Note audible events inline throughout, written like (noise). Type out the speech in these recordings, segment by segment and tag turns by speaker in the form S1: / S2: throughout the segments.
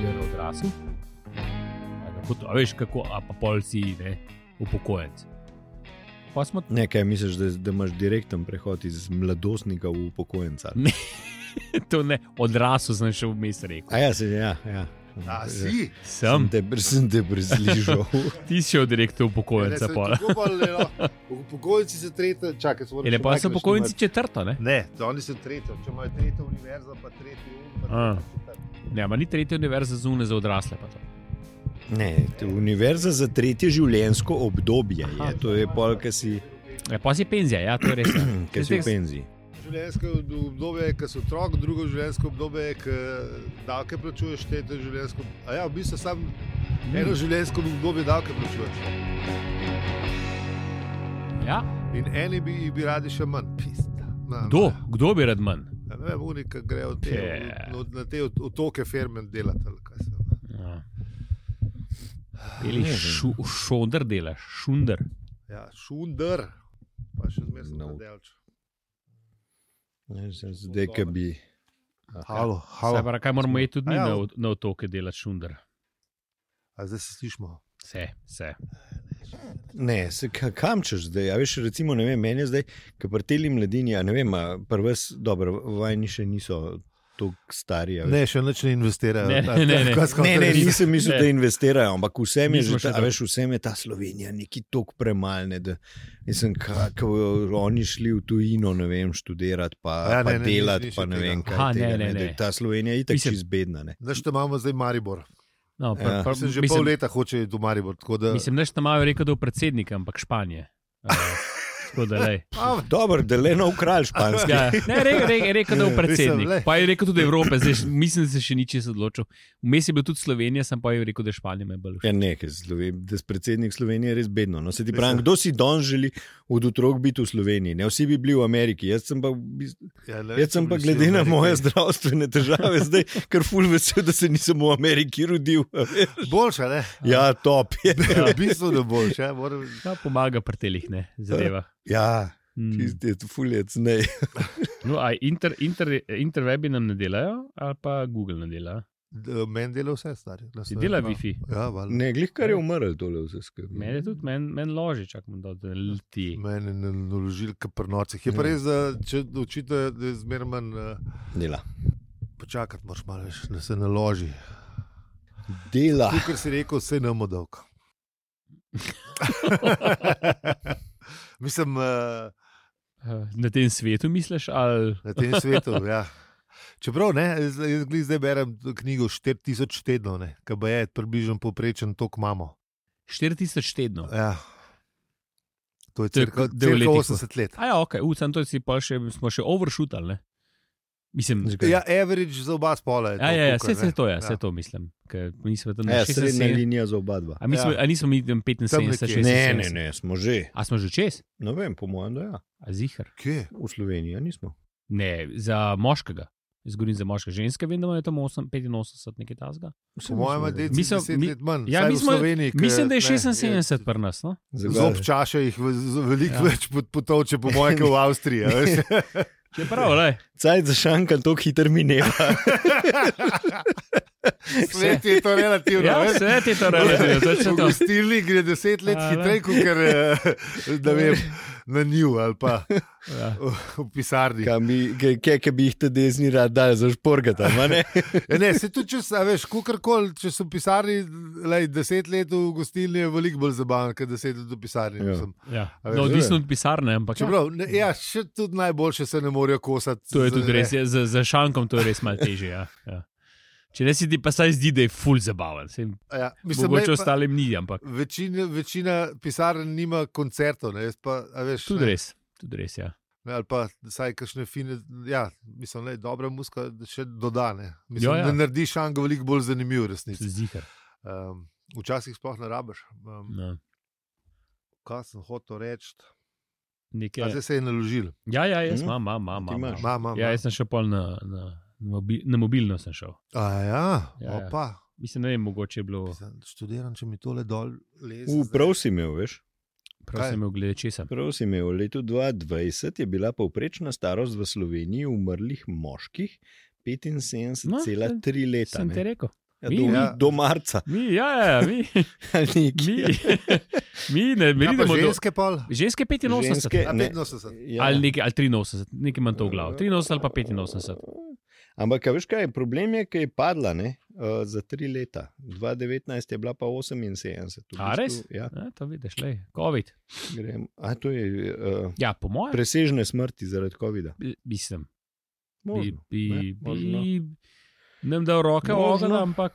S1: že odrasel. A ga pot- A veš, kako, a pa pol si ne, upokojenc. Pa smo (laughs)
S2: Nekaj misliš, da, da imaš direkten prehod iz mladostnika v upokojenca.
S1: Ne. to ne, odrasel sem še vmes rekel.
S2: A ja, se ja. ja.
S3: A si?
S1: Sem,
S2: Te, sem te
S3: (laughs)
S2: preslišal.
S1: ti si odrektel
S2: Ja,
S3: Ja, Ne,
S1: upokojenca.
S3: se
S1: pol.
S3: tako bolj, ne, no. Upokojenci se tretja, čakaj, smo
S1: Je lepo, da E, so upokojenci četrto, ne?
S3: Ne, to oni so tretja, če imajo tretjo univerzo, pa tretji um, pa
S1: A.
S3: tretji četrti.
S1: Ne, ma ni tretje univerze zune za odrasle. pa to.
S2: Ne, te- univerza za tretje življenjsko obdobje je. To je pol, ki si,
S1: Ja, pa si penzija, ja, to je res. ja.
S2: (clears throat) ki si v penziji.
S3: Življenjsko obdobje, ki si otrok, drugo življenjsko obdobje, ki davke plačuješ, tretje življenjsko. A ja, v bistvu samo
S1: Mm.
S3: eno življenjsko obdobje davke plačuješ.
S1: Ja,
S3: In eni bi, bi radi še manj, pista. Na,
S1: kdo, kdo bi rad manj?
S3: Na, ne vem, oni, ki grejo te,
S1: Ja.
S3: yeah. na te ot- otoke firme delati. ali kaj se ima.
S1: Ja. Peli šu, šodr delaš, šundr.
S3: Ja, šundr, pa še zmeraj no.
S2: No.
S3: delč.
S2: Ne, se Zdaj, ki bi.
S3: Halo,
S1: Saj
S3: halo.
S1: pa kaj moramo iti tudi mi
S3: Aja.
S1: na, ot- na otoke delati šundr.
S3: A zdaj se slišmo.
S1: Vse, vse.
S2: Ne, se, ka- kam češ zdaj? A veš, recimo, ne vem, meni je zdaj, ki pri teli mladini, a ne vem, a pri vas, dobro, vajni še niso tako stari. a Ja, veš.
S3: Ne, še nič ne investirajo.
S1: Ne, ne, ne, ne.
S3: Kaj smo
S2: Ne, ne,
S3: rekli?
S2: nisem mislil,
S1: Ne.
S2: da investirajo, ampak vsem je,
S1: Nismo
S2: že
S1: še
S2: ta, a
S1: tam.
S2: veš, vsem je ta Slovenija neki tok premalne. Da, mislim, kako oni šli v tujino, ne vem, študirati, pa,
S3: A ja,
S2: ja,
S3: ne,
S2: pa
S3: ne,
S2: ne, delati,
S3: nisem
S2: pa ne
S3: tega.
S2: vem, kaj.
S1: Aha,
S2: tega,
S1: ne, ne,
S2: da
S1: ne.
S2: je Ta Slovenija je tako
S1: Mislim-
S2: izbedna. Ne.
S3: Naš te imamo zdaj Maribor.
S1: No, pr,
S2: Ja.
S1: pr,
S3: Sem že
S1: mislim,
S3: pol leta hoče iti v Maribor. tako Da...
S1: Mislim, neš tam imajo rekel, da je predsednik, ampak Španije.
S2: (laughs)
S1: Uh, tako da lej.
S3: A,
S2: Dobro, da le nov kralj španski.
S1: Ja, ne, re, re, je rekel, da
S2: Ja,
S1: je predsednik.
S3: Mislim, glej.
S1: Pa je rekel tudi Evrope, zdaj še- mislim, da se še ni česa odločil. Vmes je bil tudi Slovenija, sem pa je rekel, da je Španija me bolj všeč.
S2: Ja, ne, ker Sloven- da si predsednik Slovenije je res bedno. No, se ti
S3: Mislim-
S2: pravi, kdo si danes želi od otrok biti v Sloveniji? Ne, vsi bi bili v Ameriki, jaz sem pa, v bistvu-
S3: ja, le,
S2: Jaz sem pa
S3: mislim,
S2: glede na
S3: Amerika-
S2: moje zdravstvene težave zdaj kar ful vesel, da se nisem v Ameriki rodil.
S3: Boljša, ne?
S2: Ja, top je.
S3: Ja. V bistvu ne boljša. ja, Moram...
S1: Ja, pomaga pri telih, ne, zadeva.
S2: Ja,
S1: Mm.
S2: tisti je fulec, ne.
S1: No, a inter, inter, interwebi nam ne delajo, ali pa Google ne dela.
S3: D- Meni dela vse stari. na
S1: Si
S3: Slovenijo.
S1: dela Wi-Fi.
S3: Ja, valjda.
S2: Ne, glih kar je umrl tole vse skupaj.
S1: Mene tudi, meni men loži, čakam, da
S2: Ja,
S1: da leti.
S3: Mene ne naložil, kar pri nocih. Je pa res, da če učite, da je zmeraj manj, eh,
S2: Dela.
S3: počakati moraš malo več, da se naloži.
S2: Dela.
S3: Kot si rekel, vse nam odavk. (laughs) Mislim, eh,
S1: Eh, Na tem svetu misliš, ali
S3: Na tem svetu. Ja. Čeprav ne, jaz, jaz glih zdaj berem to knjigo 4000 tednov, ki pa je približno poprečen tok imamo.
S1: 4000 tednov.
S3: Ja. To je
S1: To je
S3: cirka,
S1: kot del
S3: cirka
S1: letih.
S3: 80 let.
S1: A ja, ok, ucem to si pa še, smo še overšutali, ne? Mislim,
S3: Ja, average za oba spola. Je to,
S1: ja, ja, ja,
S3: kolikor,
S1: vse,
S3: ne.
S1: vse to je,
S3: Ja.
S1: vse to mislim. ker Mi smo tam na
S2: Ja, srednja
S1: 76.
S2: linija za oba dva.
S1: A, mi smo,
S3: Ja.
S1: a nismo mi tam 75,
S3: Tam nekje.
S1: 76?
S2: Ne, ne, ne, smo že.
S1: A smo že čez?
S2: Ne vem, po mojem, da ja.
S1: A zihar.
S3: Kje?
S2: V Sloveniji ja, nismo.
S1: Ne, za moškega. Jaz govorim za moške. Ženske, vem, da imajo tam 8, 85, nekaj tasga.
S3: Po mojem,
S1: Mi
S3: je deci
S1: so-
S3: 10
S1: mi-
S3: let manj.
S1: Ja,
S3: vsaj
S1: mi
S3: v
S1: smo-
S3: Sloveniji, ker,
S1: Mislim, da je
S3: ne,
S1: 76 pri nas. No?
S3: Zob čaše jih v- z-
S1: Ja.
S3: veliko ja. več pot- potovče, po mojem, kot v Avstriji. a veš.
S1: Je prav,
S3: (laughs)
S1: le.
S2: Caj za šankan tako hitro mineva.
S3: Svet je to relativno.
S1: Ja,
S3: veš.
S1: vse ti to relativno, točno
S3: V
S1: to.
S3: gostilni gre deset let
S1: A,
S3: hitreje, kot kar, eh, (laughs) da vem, na nju ali pa (laughs)
S1: Ja.
S3: v pisarni.
S2: Kaj bi, kaj- kaj- kaj bi jih te dezni rad dal za šporgata, ma ne?
S3: Ja, Ne, se tudi, če, s- a veš, kakorkoli, če so v pisarni, lej, deset let v gostilni je veliko bolj zabavno, kot deset let v pisarni.
S2: Ja.
S3: mislim.
S1: Ja.
S3: A veš,
S1: No, odvisno od pisarne, ampak ja,
S3: Čeprav, ne, ja, še tudi najboljše se ne morejo kosati.
S1: to je
S3: z-
S1: tudi res, ja.
S3: ne.
S1: je, za, za šankom to je res malo težje. Ja. Ja. Če ne si ti pa saj zdi, da je ful zabaven. Sej,
S3: Ja, mislim,
S1: mislim,
S3: lej,
S1: mogoče
S3: pa,
S1: ostalim ni, ampak
S3: večina, večina pisarn nima koncertov, ne, jaz pa, a veš,
S1: tudi
S3: ne,
S1: res. Tudi res ja.
S3: Ne, ali pa vsaj kakšne fine, ja, mislim, da je dobra muska še dodane. Mislim,
S1: Ja,
S3: jo,
S1: ja.
S3: ja. Da naredi šango veliko bolj zanimiv, resnici.
S1: Zihar.
S3: Um, včasih sploh ne rabiš. Um,
S1: No.
S3: kaj sem hotel reči?
S1: Nekaj-
S3: A Zdaj se je naložil.
S1: Ja, ja, jaz
S2: Mhm.
S1: imam, imam, imam,
S2: Ti
S1: imam.
S2: imaš.
S1: imam.
S3: Mama,
S1: Ja, jaz sem še pol na, na, na mobi- na mobilno sem šel.
S3: A ja,
S1: Ja,
S3: ja,
S1: ja.
S3: opa.
S1: Mislim, ne vem, mogoče je bilo,
S3: Ja. Študiram, če mi tole dol lezi.
S2: V prav si imel, veš?
S1: prav
S3: Kaj?
S1: sem imel glede česa.
S2: Prav si imel, v letu 2020 je bila povprečna starost v Sloveniji umrlih moških 75,3
S1: No,
S2: leta.
S1: Sem ti
S2: ne.
S1: rekel.
S2: Ja,
S1: Mi,
S2: do,
S3: ja.
S2: ja. do marca. (laughs)
S1: Mi, ja, ja,
S3: (laughs)
S1: mi,
S2: ali nekje.
S1: mi, mi ne mi
S3: Ja, pa
S1: idemo do.
S3: ženske pol.
S1: Ženske 85,
S2: Ženske,
S1: ženske,
S3: A,
S2: ne.
S3: 85.
S2: Ja.
S1: ali, nekaj, ali 83, nekaj imam to v
S3: Eh,
S1: glavi. 83 ali pa 85.
S2: Ampak, a veš kaj, je? problem je, ker je padla ne, uh, za tri leta. 2019 je bila pa 78. V
S1: A, res?
S2: bistvu, Ja,
S1: Ja, to vidiš, le, COVID.
S2: grem. A to je uh,
S1: Ja, po mojem,
S2: presežne smrti zaradi COVID-a.
S1: bi- mislim. Bi,
S2: Možno,
S1: bi,
S2: ne, možno.
S1: bi nam dal roke v
S2: Možno.
S1: ogen, ampak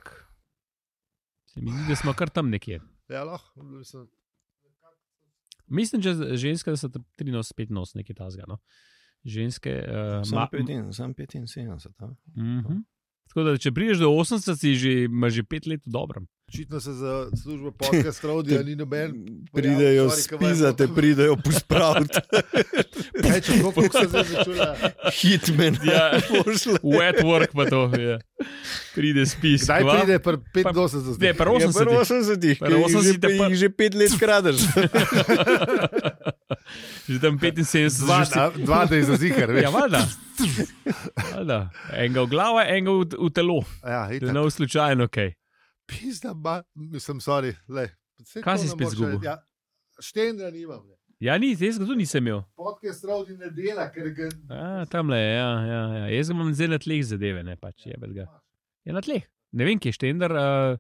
S1: se mi zdi, da smo kar tam nekje.
S3: Ja, lahko. mislim.
S1: Mislim, če z- ženske, da so 13-5 nos nekaj tasga. No? Ženske. Uh,
S2: Sam petin- Sam 75.
S1: uh
S2: a?
S1: -huh. Tako da, če priješ do 80, si že, imaš že 5 let v dobrem.
S3: Očitno se za službo podcast rodi,
S2: Te-
S1: (laughs)
S3: ni
S2: Mm,
S3: noben.
S2: ja, Pridejo
S3: sorry, kaj vam je
S2: spizate,
S3: bilo?
S2: (laughs) pridejo pospraviti.
S3: Kaj če kako se zdaj začela?
S2: Hitmen.
S1: (laughs) Ja.
S2: pošlje.
S1: Wet work pa to je. Pride spis.
S3: Kdaj
S1: kva.
S3: pride pri
S1: Pa-
S3: 85?
S1: Ne, pa
S2: Ja,
S1: 80.
S2: prvo 80,
S1: Pri
S2: ki jih
S1: 80
S2: že,
S1: te pa-
S2: jih že pet let kradeš.
S1: Že tam 75,
S3: Dva,
S1: že si-
S3: a, dva da je za zikar, veš.
S1: Ja,
S3: (laughs)
S1: valjda. Valjda. Enega v glavo, enega v, v telo.
S3: Ja,
S1: Da
S3: itak.
S1: ne no. bo slučajno kaj.
S3: Pizda, ba, mislim, sorry. Le, Saj
S1: Kaj
S3: to
S1: si
S3: ne
S1: spet
S3: moreš-
S1: izgubil?
S3: Ja, Štendra nimam. ne.
S1: Ja, ni, jaz ga tu nisem imel.
S3: Podcast rodi ne dela, ker ga
S1: A, tamle, je, ja, ja, ja. Jaz ga imam zdaj na tleh zadeve, ne pač
S3: Ja.
S1: je bedga. Je na tleh. Ne vem, kje je štender. Uh,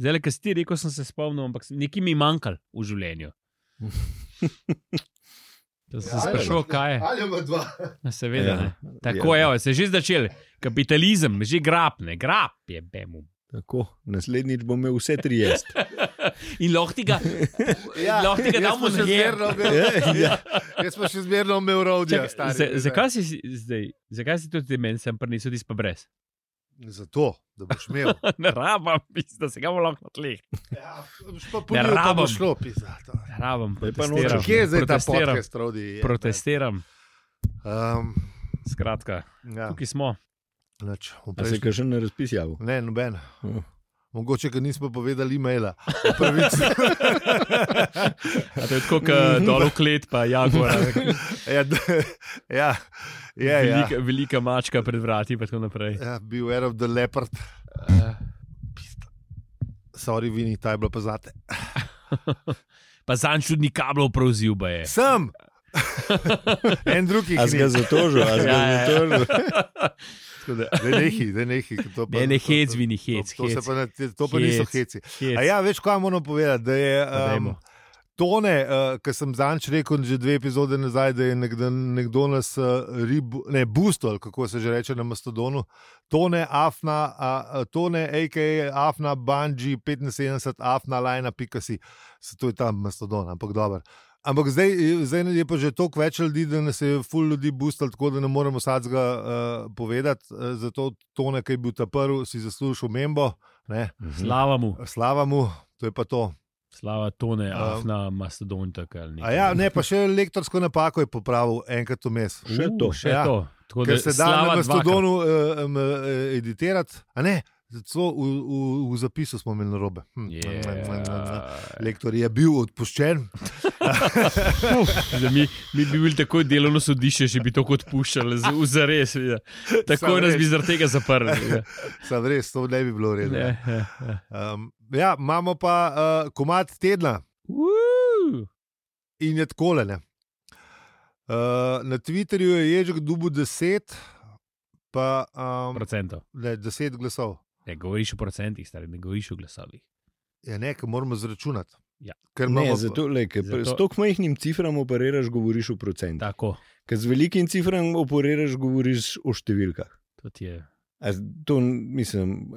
S1: zdaj, kaj si ti rekel, sem se spomnil, ampak sem- nekaj mi je manjkalo v
S3: (laughs)
S1: življenju. To sem se
S3: Ja,
S1: sprašoval, kaj je.
S3: Ali ima dva.
S1: Ja, Seveda.
S2: Ja,
S1: Ja, Tako je,
S2: ja.
S1: evo, se je že začel. Kapitalizem, že grab, ne grab je bemu.
S2: Tako, naslednjič bom imel vse tri jesti.
S1: In lahko ti
S3: (laughs)
S1: ga, ja, lahko ti ga
S3: jaz
S1: damo
S3: pa še
S1: na jer.
S3: zmerno imel-
S2: Ja, ja.
S3: Jaz pa še zmerno imel rodja.
S1: Čakaj, za- Zakaj si si zdaj, zakaj si tudi meni sem prinesel, ti pa brez? (laughs)
S3: Zato, da boš imel.
S1: ne rabam, mislim, da se ga bom lahko na tleh.
S3: Ja, boš pa
S1: Ne
S3: poljubil, pa bo
S1: rabim.
S3: šlo pisati.
S1: Ne Rabam,
S2: Zdaj pa
S1: protestiram.
S2: nočeš.
S3: Kje je zdaj ta
S1: protestiram,
S3: podcast rodi?
S1: protestiram.
S3: Um,
S1: Skratka,
S3: ja,
S1: tukaj smo.
S3: nič,
S2: A se
S3: v
S2: je
S3: prejšnji-
S2: kakšen na razpis javil?
S3: ne, noben.
S2: Ja.
S3: Mogoče ga nismo povedali e-maila. Pravic-
S1: A to je tako, kot dol v klet, pa jagora.
S3: (laughs) (laughs) ja, d- ja, ja, ja.
S1: Velika, velika mačka pred vrati, pa tako naprej.
S3: ja, be aware of the leopard.
S1: Eh,
S3: Sorry, vini, ta je bila pa zate.
S1: Pa zanj čudni kablov prevzil, pa je.
S3: Sem! en drugi,
S2: A si
S3: ki
S2: ga zatožil, a si
S1: Ja,
S2: ga
S1: ja, ja.
S2: zatožil.
S1: Tako da-
S3: Zdaj nehi, zdaj nehi. ker to pa-
S1: Ne, ne
S3: to-
S1: hec,
S3: to-
S1: vini, hec.
S3: To, to, se
S1: hec,
S3: pa, ne, te- to pa niso
S1: Hec.
S3: heci.
S1: hec.
S3: A ja, veš, kaj moram povedati? Da je
S1: Pa
S3: um,
S1: dajmo.
S3: tone, uh, ki sem zanč rekel, že dve epizode nazaj, da je nekdo, nekdo nas uh, ribu, ne, boosto, ali kako se že reče na Mastodonu, tone, afna, uh, tone, a.k.a. afna, banji 75, afna, lajna.si. To je tam Mastodon, ampak dobro. Ampak zdaj, zdaj je pa že toliko več ljudi, da nas je ful ljudi boostal, tako da ne moremo sadga uh, povedati. Uh, zato tone, ki je bil ta prvi, si zaslužil membo. Ne?
S1: Slava mu,
S3: Slava mu, to je pa to.
S1: slava tone,
S3: Ja.
S1: afna, mastodon, tako ali
S3: A
S1: nekaj.
S3: ja, ne, pa še lektorsko napako je popravil enkrat vmes.
S2: Mhm. Še
S1: U,
S2: to.
S1: Uh, Še
S3: Ja.
S1: to. Tako
S3: Ker
S1: da
S3: se da
S1: slava
S3: na
S1: dvakrat.
S3: Mastodonu eh, em, eh, editirati, a ne, celo v, v, v zapisu smo imeli narobe. Hm.
S1: Ja. Yeah.
S3: Lektor je bil odpuščen, (laughs)
S1: Zdaj, mi, mi bi bili tako delovno sodišče, če bi to odpuščali, z- v zares. Ja. Tako
S3: Samo
S1: nas
S3: res.
S1: bi zaradi tega zaprli.
S3: (laughs)
S1: Ja.
S3: sam res, to ne bi bilo
S1: Ne,
S3: redno.
S1: ja, ja.
S3: Um, ja, imamo pa uh, komat tedna
S1: Uuu.
S3: in je tako le. Uh, na Twitterju je ježek dubu 10, pa um,
S1: Procentov.
S3: ne, 10 glasov.
S1: Ne govoriš o procentih, stari, ne govoriš o glasovih.
S3: Ja, ne, ker moramo zračunati.
S1: Ja.
S3: Ker
S2: Ne,
S3: imamo (laughs)
S2: zato, le, ker
S1: Zato-
S2: zato... s tako majhnim cifram operiraš, govoriš o procentih.
S1: Tako,
S2: Ker z velikim cifram operiraš, govoriš o številkah.
S1: to ti je.
S2: A z- to mislim,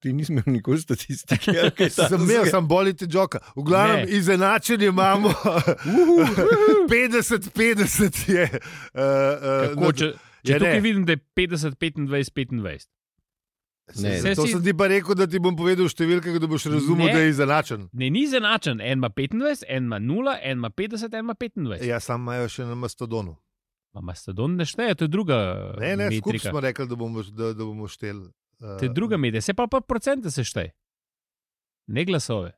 S2: ti nisem imel nikoli statistike. ali kaj
S3: (laughs) Sem
S2: takega.
S3: imel, sem bolite joka. V glavnem,
S1: Ne.
S3: izenačen imamo.
S2: (laughs)
S3: 50-50 je. eh, Uh,
S1: Kako, če če
S3: Ja, ne.
S1: tukaj vidim, da je 50, 25, 25.
S2: Ne,
S3: ne, to
S1: si-
S3: sem ti pa rekel, da ti bom povedal številke, da boš
S1: Ne.
S3: razumel, ne. da je izenačen.
S1: Ne, ni zanačen, en ima 25, en ima 0, en ima 50, en ima 25. Ja.
S3: Ja, sam imajo še na Mastodonu.
S1: Mastodon ne šteje, to je druga.
S3: Ne, ne, skupaj
S1: metrika.
S3: smo rekli, da bomo, da, da bomo šteli. Uh,
S1: To je druga medija, se pa pa procente sešteje. Ne glasove.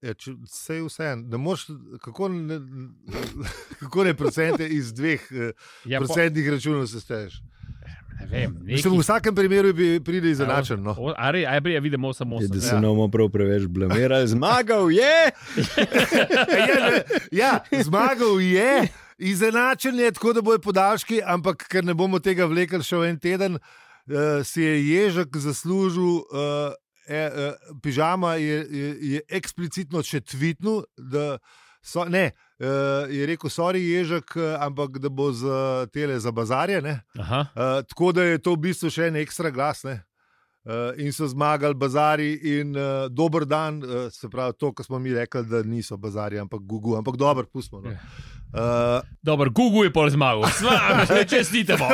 S3: Ja, če, sej vse en. Ne moš, kako, ne, (laughs) kako ne procente iz dveh eh,
S1: Ja, po,
S3: procentnih računov sesteješ?
S1: Ne vem,
S3: Mislim, v vsakem primeru bi prili izenačen. No.
S1: Ali je vidimo samo
S2: Je, da
S1: 8?
S2: se
S3: Ja.
S2: ja. ne bomo prav preveč blamirali, zmagal je.
S3: (laughs) Ja, ne, ja, zmagal je, izenačen je, tako da bojo podaljški, ampak ker ne bomo tega vlekli še v en teden, uh, si je ježek zaslužil. Uh, E, e, pižama je, je, je eksplicitno še tvitnil, da so, ne, e, je rekel, sorry, ježek, eh, ampak da bo za tele za bazarje. Ne?
S1: ja. Aha.
S3: Uh, tako da je to v bistvu še en ekstra glas. Ne? Uh, in so zmagali bazari in uh, dober dan, uh, se pravi to, kar smo mi rekli, da niso bazari, ampak Google, ampak dobro, pustimo. No.
S1: Ja.
S3: Uh,
S1: Dobro, Google je pol
S3: (laughs)
S1: zmagal, sva, ne čestitamo.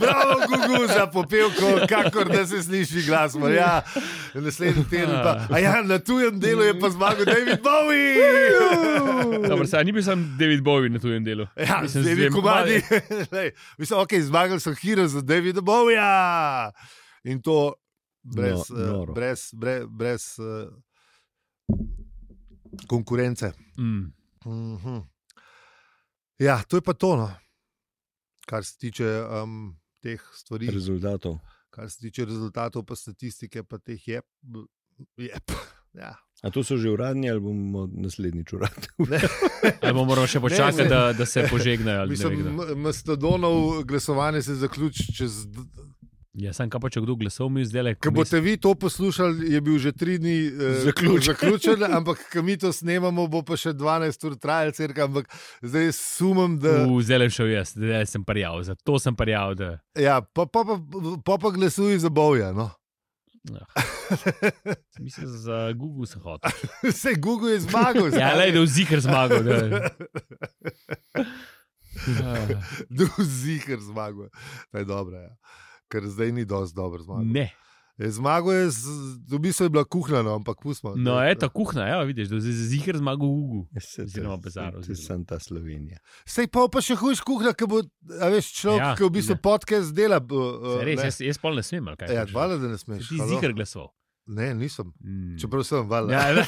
S3: bravo, Google za popevko, kakor da se sliši glas. mar Ja, naslednji teden pa. A ja, na tujem delu je pa zmagal David Bowie.
S1: Dobro, saj ni bil sam David Bowie na tujem delu.
S3: Ja,
S1: Mislim, z
S3: mislim, zdaj
S1: dvema-
S3: mi komadi. (laughs) Lej, mislim, okay, zmagali so hero za Davida Bowja. In to brez,
S2: No,
S3: no,
S2: noro.
S3: brez, brez, brez eh, konkurence.
S1: Mm.
S3: Mhm. Ja, to je pa to, no. kar se tiče um, teh stvari,
S2: Rezultatov.
S3: kar se tiče rezultatov, pa statistike, pa teh je. je (laughs) ja.
S2: A to so že uradni, ali bomo naslednjič uradni?
S1: Ali bomo morali še počakati,
S3: ne.
S1: da, da se požegnajo? ali ne ve kdo?
S3: Mislim, no. M- Mastodonov glasovanje se zaključi čez d-
S1: Ja, sem kapač, kdo glasov mi zdaj.
S3: Ko boste vi to poslušali, je bil že tri dni eh,
S2: Zaključen.
S3: zaključen, amtek ko mi to snemamo, bo pa še 12 ur trajal, crka, ampak zdaj sumim, da.
S1: Zdaj šel jaz, zdaj sem parjal, zato sem parjal. Da...
S3: Ja, pa, pa, pa, pa, pa glasuj za boja. No. (laughs)
S1: Ah. Mislim, za Google sem hotel.
S3: Se Google je zmagal.
S1: Ja, le da je
S3: (laughs) zdaj.
S1: vzikr zmagal. Da...
S3: (laughs)
S1: Ah,
S3: Da je Zikr zmagal. To je dobro, ja. ker zdaj ni dosti dobro zmagal.
S1: Ah, Ne,
S3: Je Zmagal je, z- v bistvu je bila kuhana, ampak pustimo.
S1: no, je ta kuhna, ja, vidiš, da je zikr zmagal Google. Oziroma bazar,
S2: To je
S1: oziroma.
S2: samo ta Slovenija.
S3: Sej pa pa še hujš kuhna, ki bo, a veš, človek,
S1: Ja,
S3: ja, ki v bistvu
S1: ne.
S3: podcast dela. Uh,
S1: Saj Res, jaz, jaz pol ne smem. ali Kaj,
S3: Ja,
S1: hočeš?
S3: hvala, da ne
S1: Si
S3: smeš.
S1: Ti
S3: halo?
S1: zikr glasov.
S3: Ne, nisem.
S1: Mm.
S3: Čeprav sem valjda.
S1: Ja, ne.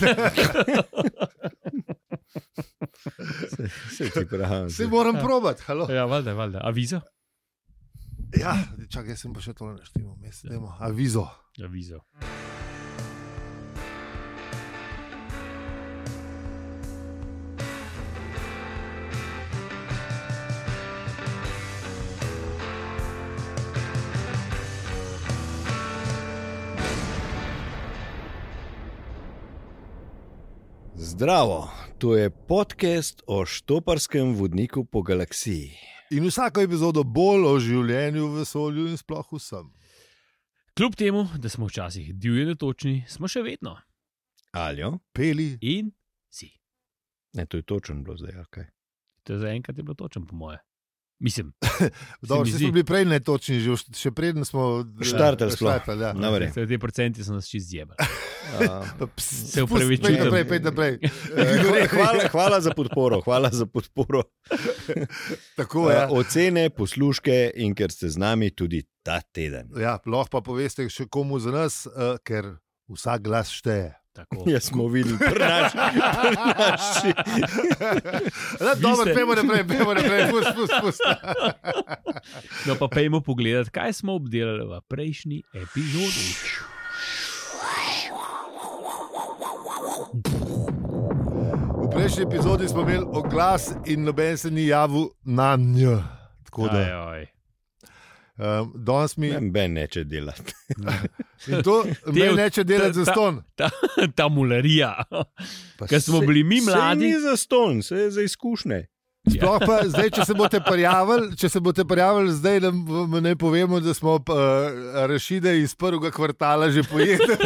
S2: Saj- Saj ti pravim.
S3: Vse moram
S1: Ja.
S3: probat. halo.
S1: ja, valjda, valjda. A viza?
S3: Ja, čakaj, jaz sem pa še to naštemo. Dajmo, avizo.
S1: Ja, viza.
S2: Zdravo, to je podcast o štoparskem vodniku po galaksiji.
S3: In vsako epizodo bolj o življenju v vesolju in sploh vsem.
S1: Kljub temu, da smo včasih divji netočni, smo še vedno
S2: Aljo?
S3: Peli,
S1: in si.
S2: Ne, to je točno bilo zdaj, ok.
S1: To je zaenkrat je bilo točen, po moje. Mislim,
S3: (laughs) dobro,
S1: mi
S3: vsi
S1: zdi.
S3: smo bili prej netočni, že, v- še preden smo eh,
S2: Štartali sploh.
S3: štartali, Ja.
S2: No, verjetno.
S1: vse te procenti so nas čist zjebali.
S3: Pa pst,
S1: Se
S3: spust, pejdi
S1: opravičujem.
S3: Naprej, pejdi
S1: (laughs)
S3: naprej.
S2: Eh, Hvala, hvala za podporo, hvala za podporo.
S3: Tako ja. je.
S1: Ja.
S2: Eh, Ocene, posluške in ker ste z nami tudi ta teden.
S3: Ja, lahko pa poveste še komu za nas, eh, ker vsak glas šteje.
S1: (laughs)
S3: (laughs)
S1: Tako.
S2: Ja, smo videli, prnači, prnači.
S3: Da,
S1: Vi
S3: Ja, dobro,
S1: ste-
S3: pejmo naprej, pejmo naprej, pust, pust, pust.
S1: No, pa pojmo pogledat, kaj smo obdelali v prejšnji epizodi.
S3: V prejšnji epizodi smo imeli oglas in noben se ni javil na njo. Tako
S1: Ja,
S3: da,
S1: Ajaj.
S3: um, danes mi
S2: Ben neče delati.
S3: in to
S1: (laughs) Del-
S3: meni neče delati
S1: ta-
S3: za ston.
S1: Ta, ta mularija, ker smo bili mi
S2: Se
S1: mladi.
S2: ni za ston, se je za izkušnje.
S3: Sploh pa zdaj, če se boste prijavili, če se boste prijavili, zdaj nam vam ne povemo, da smo uh, rešide iz prvega kvartala že pojedli.
S1: (laughs)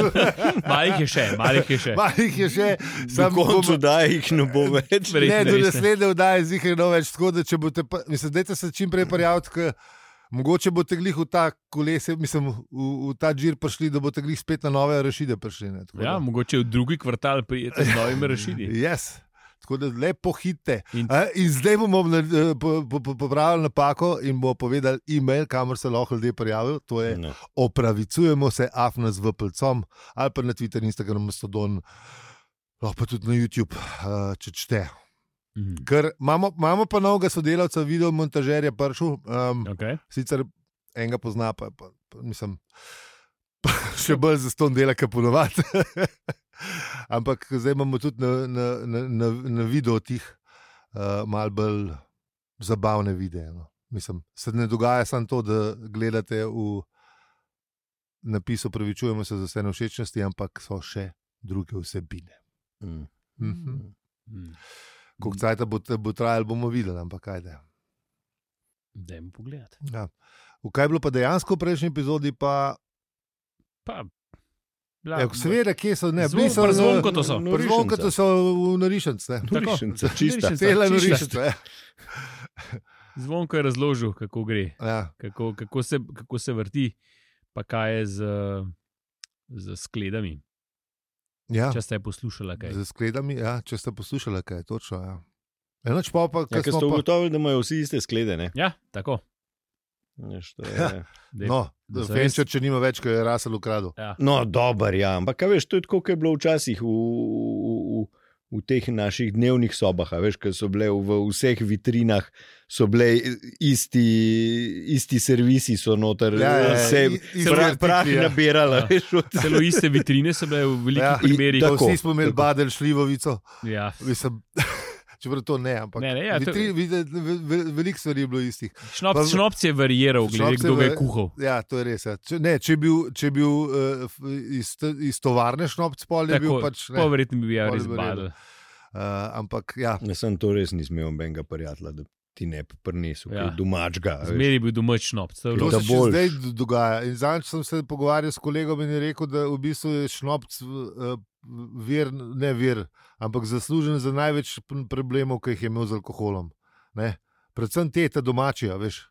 S3: (laughs)
S1: Malih je še, malih je še.
S3: Malih je še,
S2: Na
S3: samo
S2: koncu (laughs) da jih ne bo več.
S1: Verjetno
S3: Ne, do
S1: res ne.
S3: naslednje vdaje zihrno več. Tako da, če boste, pa- mislim, dajte se čim prej prijaviti, ker mogoče boste glih v ta kolese, mislim, v, v ta džir prišli, da boste glih spet na nove rešide prišli. Ne, tako
S1: Ja,
S3: da.
S1: mogoče v drugi kvartal prijete z novimi
S3: (laughs)
S1: rešili.
S3: Yes. Tako da lepo hitite.
S1: In-
S3: In... in zdaj bomo na, po, po, po, popravili napako in bo povedali e-mail, kamor se lahko ljudje prijavijo. To je
S2: No.
S3: opravičujemo se, afna z vplcom ali pa na Twitter, Instagram, Mastodon, lahko pa tudi na YouTube, eh, če čte.
S1: Mhm. Ja.
S3: Ker imamo, imamo pa novega sodelavca, video montažerja, pršu. Um,
S1: Okay.
S3: sicer enega pozna, pa, pa, pa mislim, (laughs) pa še bolj za ston dela, kot ponovadi. (laughs) Ampak zdaj imamo tudi na, na, na, na, na video tih uh, malce bolj zabavne videe. No. Mislim, se ne dogaja samo to, da gledate v napisu, pravičujemo se za vse nevšečnosti, ampak so še druge vsebine.
S2: Mm.
S3: Mhm.
S1: Hm.
S3: Koliko cajt bo, bo trajalo, bomo videli, ampak kaj da.
S1: Dajmo pogledati.
S3: Ja. V kaj je bilo pa dejansko v prejšnji epizodi, pa
S1: Pa, bila,
S3: ja, seveda, kje so ne,
S1: Zvon-
S3: bili so
S1: pri zvonku to so.
S2: No,
S3: Prezvonko to so v narišence.
S1: (laughs) Tako.
S2: Norišnica, čista.
S1: Norišnica.
S3: Cela
S1: Čišla.
S3: narišnica. ja.
S1: Zvonko je razložil, kako gre,
S3: Ja.
S1: kako, kako, se, kako se vrti, pa kaj je z, eh, z skledami.
S3: Ja.
S1: Če ste poslušali, kaj
S3: Z skledami, ja, če ste poslušali, kaj je točno. Ja. Enoč pa, pa
S2: Ja,
S3: ja,
S2: ker ste
S3: smo pa,
S2: ugotovili, da imajo vsi iste sklede. Ne?
S1: Ja, tako.
S2: Veš, to
S3: Ja.
S2: je-
S1: daj.
S3: no,
S1: da so
S3: Fenčer, če nima več, kaj je Rasel ukradel.
S1: Ja.
S3: (laughs)
S2: No, dober, ja. Ampak, kaj veš, to je tako, kot je bilo včasih v, v, v, v teh naših dnevnih sobah. a Veš, ki so bile v vseh vitrinah, so bile isti, isti servisi, so noter,
S3: Ja, ja, ja,
S2: se
S3: i- isti
S2: pra,
S3: artikli,
S2: prah
S3: ja.
S2: nabirala.
S1: Ja.
S2: Veš, od...
S3: (laughs)
S1: Celo iste vitrine so bile v velikih
S3: Ja.
S1: ja. primerih.
S2: Tako,
S3: Tako, vsi smo imeli
S2: tako.
S3: badel šljivovico,
S1: Ja.
S3: mislim, (laughs) čeprav to ne, ampak
S1: Ne, ne, ja, to-
S3: vitri- vide- ve- ve- veliko stvari je bilo istih.
S1: Šnop,
S3: Pa-
S1: šnopc je variiral, glede
S3: Šnopc je
S1: kdo ga je
S3: var-
S1: kuhal.
S3: Ja, to je res. Ja. Če, ne, če je bil, če je bil uh, iz, iz tovarne šnopc, pol je bil
S1: Tako,
S3: pač ne.
S1: pa verjetno bi ja
S3: Pol je
S1: res
S3: bil redo.
S1: badal.
S3: Uh, ampak ja,
S2: Ne, sem to res nisem imel benga prijatelja, da ti ne bi prinesel
S1: Ja.
S2: ja. domačega. a veš.
S1: Zmeri je bil domač šnopc. to je
S3: to
S1: bilo-
S2: Da
S3: se še
S2: boljš.
S3: zdaj d- dogaja. In Zanj sem se pogovarjal s kolegom in je rekel, da v bistvu je šnopc uh, vir, ne vir, ampak zaslužen za največ p- problemov, ki jih je imel z alkoholom. Ne? Predvsem te ta domačija, veš.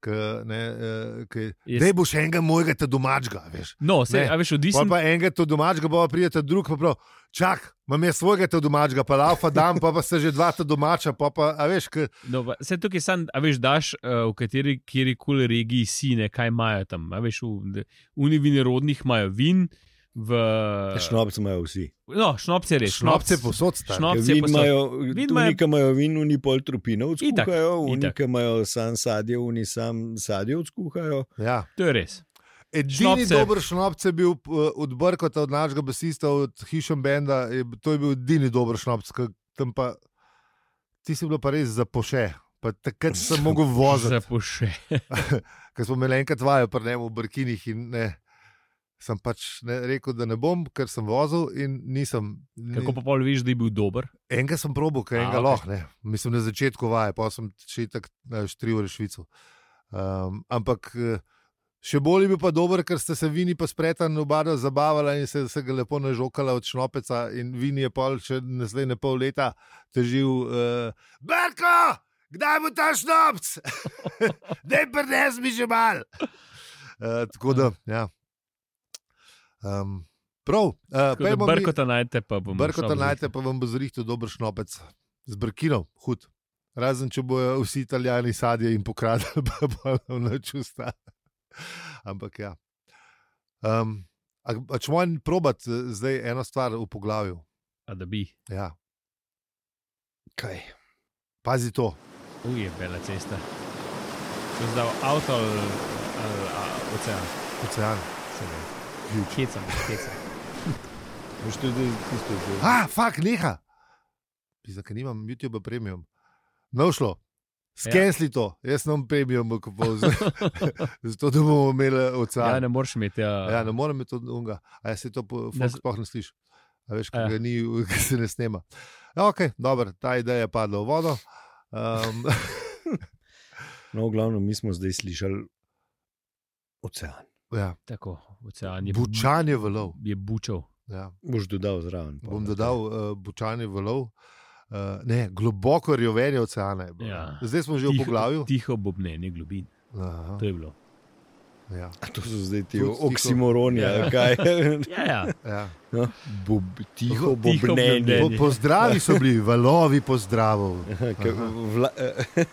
S3: K, ne, eh, k,
S1: Jaz-
S3: dej boš enega mojega, ta domačega, veš.
S1: No,
S3: Ne.
S1: se, a veš,
S3: Pol
S1: odvisno.
S3: pa enega to domačega, pa prijete drug, pa prav, čak, imam jaz svojega to domačega, pa laufa dam, pa pa se že dva to domača, pa pa, a veš, k,
S1: No, pa, se tukaj sam, a veš, daš uh, v kateri kjer koli regiji si, ne, kaj imajo tam. A veš, v, v nevinorodnih imajo vin, v eh,
S2: Šnopce imajo vsi.
S1: No, šnopce res.
S3: Ja, šnopce posod sta.
S1: Šnop- Šnopce
S2: Vin
S1: pa so-
S2: imajo,
S1: vin
S2: vin
S1: imajo-
S2: imajo, imajo vin, oni pol trupinov
S1: Itak,
S2: skuhajo, oni
S1: itak.
S2: imajo sam sadje, oni sam sadje skuhajo.
S3: Ja.
S1: To je res.
S3: Edini
S1: Šnopce.
S3: dober šnopce je bil eh, od Brkota, od našega basista, od Hišem Benda. je b- To je bil edini dober šnopce, ker tam pa ti si bil pa res za poše. Pa takrat sem mogel voziti, (laughs)
S1: Zapuše.
S3: ker smo imeli enkrat vajo, pa ne v Brkinih. in Ne, sem pač ne, rekel, da ne bom, ker sem vozil in nisem. ni-
S1: Kako pa pol veš, da je bil dober?
S3: Enega sem probil, ker
S1: A,
S3: enega
S1: ok.
S3: lahko, ne. mislim na začetku vaje, pa sem še tako tri ure švico. Um, ampak eh, še bolj je bil pa dober, ker ste se vini pa spretan obada zabavala in se, se ga lepo nažokala od šnopeca in vini je pol še naslednje pol leta težil. Uh, Berko, kdaj bo ta (laughs) šnopc? ne prnes mi že mal. Uh, tako da, ja. Um, prav, uh,
S1: Tako da
S3: pojdimo mi-
S1: Brkota najdete, pa bomo.
S3: Brkota
S1: šnopc
S3: najdete, pa vam bo zrihtel dober šnopec. Z brkinom, hud. Razen, če bojo vsi italijani sadje in pokradili, (laughs) pa bo nam noč usta. Ampak ja. Um, a, a če moram probat eh, zdaj eno stvar v poglavju.
S1: zrihtal. A da bi.
S3: Ja.
S2: Kaj?
S3: Pazi to.
S1: Uje, bela cesta. To je zdal avto ali, ali a, ocean.
S3: Ocean.
S1: Se ne. Hecam, hecam.
S2: Veš, to je zdaj tisto, kar-
S3: A, fuk, neha. Pisa, ker nimam YouTube premium. No, šlo. Skensli ja. to, jaz nam premium bom (laughs) kupoval, zato da bomo imeli ocean.
S1: Ja, ne moreš imeti. Ja,
S3: Ja, ne morem biti od unga, a jaz se to po-
S1: Ne
S3: folk
S1: z-
S3: sploh ne sliši. A veš,
S1: Ja.
S3: kaj ni, (laughs) ki se ne snema. Ja, ok, dobro, ta ideja je padla v vodo. Um,
S2: No, glavno, mi smo zdaj slišali ocean.
S3: (laughs) ja,
S1: Tako, ocean je.
S3: bučan je
S1: (laughs)
S3: valov.
S1: Je bučal.
S3: Ja,
S2: Boš dodal zraven. pa
S3: bom
S2: ne.
S3: dodal, uh, bučan je valov. Uh, ne, globoko rjovenje oceana je bilo.
S1: Ja.
S3: Zdaj smo že v poglavju.
S1: Tiho bobnenje globin.
S3: Aha,
S1: To je bilo.
S3: Ja,
S2: A to so zdaj ti
S3: Tudi tiho.
S2: oksimoroni,
S1: Ja.
S2: ali kaj. (laughs)
S1: Ja,
S3: (laughs)
S1: ja.
S3: ja.
S2: No, Bob, tiho
S1: Tiho
S2: bobnenje.
S1: bobnenje.
S3: Po, pozdravi so bili, valovi
S1: (laughs)
S3: pozdravov.
S2: Aha, ke Vla, eh,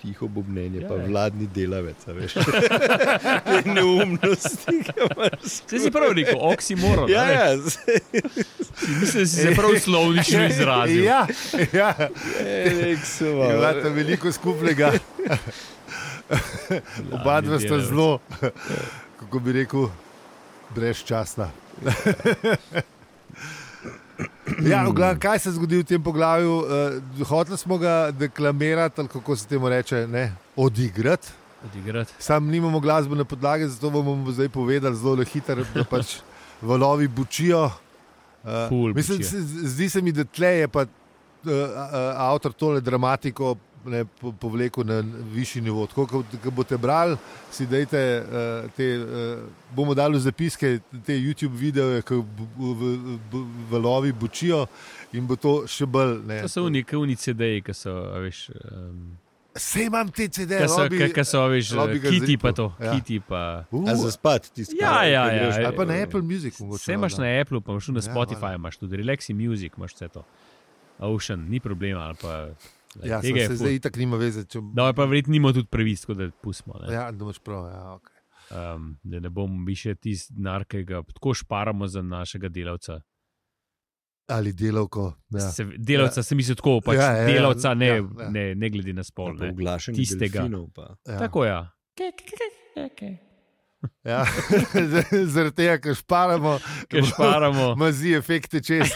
S2: tiho bobnenje,
S1: Ja,
S2: pa
S1: ja.
S2: vladni delavec, a
S1: (laughs)
S2: veš. Te neumnosti, ki imaš.
S1: Zdaj si prav rekel, oksimoron.
S2: Ja,
S1: a ne?
S2: ja, zdaj,
S1: Mislim, da si se prav
S3: (laughs)
S1: slovnično izrazil.
S3: Ja, ja.
S1: (laughs)
S2: eh, nek se
S3: Imate
S2: malo.
S3: veliko skupnega.
S1: Ja,
S3: Oba dva sta
S1: ljudje,
S3: zelo, (laughs) kako bi rekel, brezčasna. Ja, v glavnem, kaj se zgodi v tem poglavju? Uh, hoteli smo ga deklamirati, ali kako se temu reče, ne? odigrati.
S1: Odigrati.
S3: Sam nimamo glasbene podlage, zato vam bomo zdaj povedali zelo na hitro, da pač valovi bučijo. Uh,
S1: Ful
S3: mislim,
S1: bučijo.
S3: se- z- zdi se mi, da tle je pa uh, uh, avtor tole dramatiko ne, po, povlekel na višji nivo. Tako kot ko boste brali, si dajte, uh, te, uh, bomo dali v zapiske te YouTube videe, ki valovi bučijo in bo Ja, to še bolj. ne.
S1: To so unike, unice, deji, ki so, a veš. Um,
S3: Sej imam te CD-je,
S1: Kaj so, ka, ka so, veš,
S3: Robi ga
S1: kiti
S3: zrihtal.
S1: pa to,
S3: Ja.
S1: ja. kiti pa.
S2: A za spat tiskaj.
S1: Ja, ja, ja.
S3: Ali pa na Apple Music. mogoče,
S1: Vse imaš
S3: valjda.
S1: na Apple, pa imaš tudi na
S3: Ja,
S1: Spotify,
S3: valjda.
S1: imaš tudi Relaxi Music, imaš vse to. Ocean, ni problema. ali Pa, like,
S3: Ja,
S1: tega je
S3: se
S1: ful.
S3: zdaj itak nima veze, če bo.
S1: No, pa verjetno nima tudi pravic, tako da pustimo. ne.
S3: Ja, da imaš prav. Ja, okay.
S1: Um, da ne bom više tisti denar, ki ga tako šparamo za našega delavca.
S3: Ali delavko. Ja.
S1: Se, delavca se misli tako, pač
S3: Ja, ja, ja,
S1: delavca ne,
S3: ja,
S1: ja,
S3: ja.
S1: ja. Ne, ne glede na spol. Ne.
S2: Oglašen
S1: Tistega.
S2: delfinov. Pa.
S3: Ja.
S1: Tako ja.
S3: Ja. (laughs) Zaradi tega, ker šparamo,
S1: Ker šparamo.
S3: (laughs) mazi efekte čez.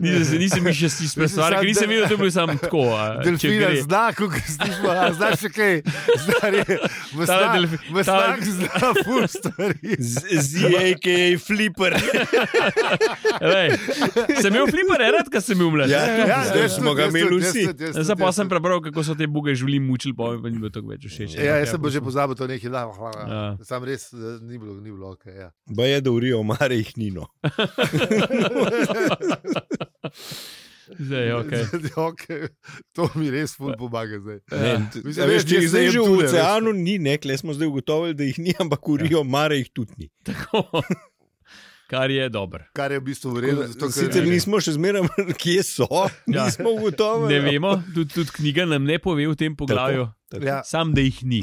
S1: Nisem, nisem bil še si
S3: Mislim,
S1: spesal,
S3: samo
S1: nisem
S3: del-
S1: videl, da bi sam tako. a, (laughs) če
S3: Delfina
S1: gre.
S3: zna, ko ga slišimo, a znaš še kaj. Star je,
S1: Tale
S3: mesnak,
S1: delfi-
S3: mesnak
S1: tale-
S3: zna, ful stvari.
S1: (laughs)
S2: ZAKA (laughs) flipper.
S1: Ej, Ja, Sem imel flipper, erat, ko sem bil mlad.
S2: Ja,
S1: ne?
S2: ja, zdaj
S3: jaz
S2: smo
S3: tudi,
S2: ga
S3: jaz
S2: imeli
S3: tudi, jaz
S2: vsi.
S3: tudi, jaz tudi,
S1: Zdaj pa
S3: jaz
S1: sem
S3: tudi.
S1: prebral, kako so te buge živeli mučili, pa mi pa ni bilo tako več všeč.
S3: Ja, jaz sem pa že pozabil, to nekaj da.
S1: Ja.
S3: Sam res eh, ni bilo, ni bilo, ok. Ja.
S2: Ba je, da urijo, mare jih no. nino.
S1: Zdaj,
S3: (laughs)
S1: okay.
S3: okay. To mi res
S1: Ja.
S3: ful pomaga zdaj.
S2: Ne, t-
S3: Mislim,
S2: a
S3: veš,
S2: veš, Če
S3: jaz
S2: jih zdaj
S3: sejem
S2: že v
S3: tule, veš.
S2: oceanu ni, ne, kle smo zdaj ugotovili, da jih ni,
S1: Ja.
S2: ampak urijo, mare jih tudi ni.
S1: (laughs) Kar je dobro.
S3: Kar je v bistvu v redu. zato,
S2: Tako da
S3: ker-
S2: Sicer nismo še zmeraj, (laughs) kje so,
S1: Ja.
S2: nismo ugotovili. Ja.
S1: Ne vemo, tudi, tudi knjiga nam ne pove v tem poglavju,
S2: Tako.
S3: Ja,
S1: sam da jih ni.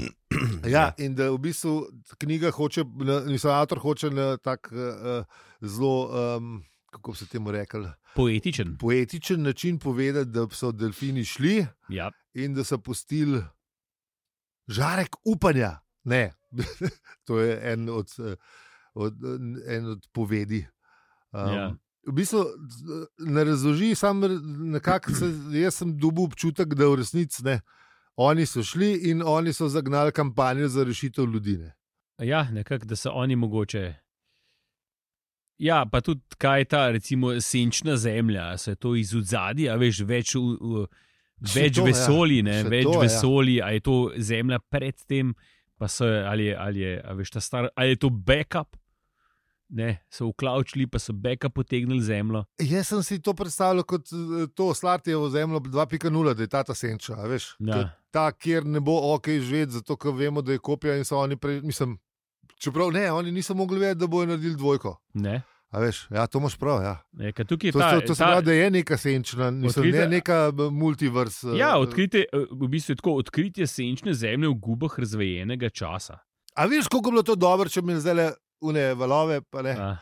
S3: ja, in da v bistvu knjiga hoče, na- mislim, avtor hoče na tak uh, zelo, um, kako bi se temu rekel,
S1: Poetičen.
S3: poetičen način povedati, da so delfini šli
S1: Ja.
S3: in da so pustili žarek upanja. Ne, (laughs) to je en od, eh, od, eh, en od povedi. Um,
S1: Ja.
S3: V bistvu z- ne razloži, samo nekako se- jaz sem dobil občutek, da v resnici ne. Oni so šli in oni so zagnali kampanjo za rešitev ljudi. Ne.
S1: Ja, nekako, da so oni mogoče. Ja, pa tudi kaj je ta, recimo, senčna zemlja, se to iz zadja, veš, več, v- v-
S3: Še
S1: več
S3: to, ja.
S1: vesolji, ne,
S3: Še
S1: več
S3: to, ja.
S1: to, vesolji, ja. a je to zemlja predtem, pa so, ali je, ali je, a veš, ta star, ali je to backup, ne, so uklaučili, pa so backup potegnili zemljo.
S3: Jaz sem si to predstavljal kot eh, to Slartijevo zemljo 2.0, da je ta ta senča, a veš.
S1: Ja.
S3: To je Ta, kjer ne bo ok živeti, zato ker vemo, da je kopija in so oni prej, mislim, čeprav ne, oni niso mogli vedeti, da bojo naredili dvojko.
S1: Ne,
S3: A veš, ja, to imaš prav, ja.
S1: ne, ker tukaj je
S3: To,
S1: ta,
S3: to, to se
S1: ta-
S3: pravi, da je neka senčna, mislim, ne
S1: Odkrite-
S3: neka eh, multiverse. eh,
S1: Ja, odkrite, eh, v bistvu je tako odkritje senčne zemlje v gubah razvejenega časa.
S3: A veš, kako bi bilo to dobro, če bi imeli zdaj une valove? pa Ne?
S1: Ja.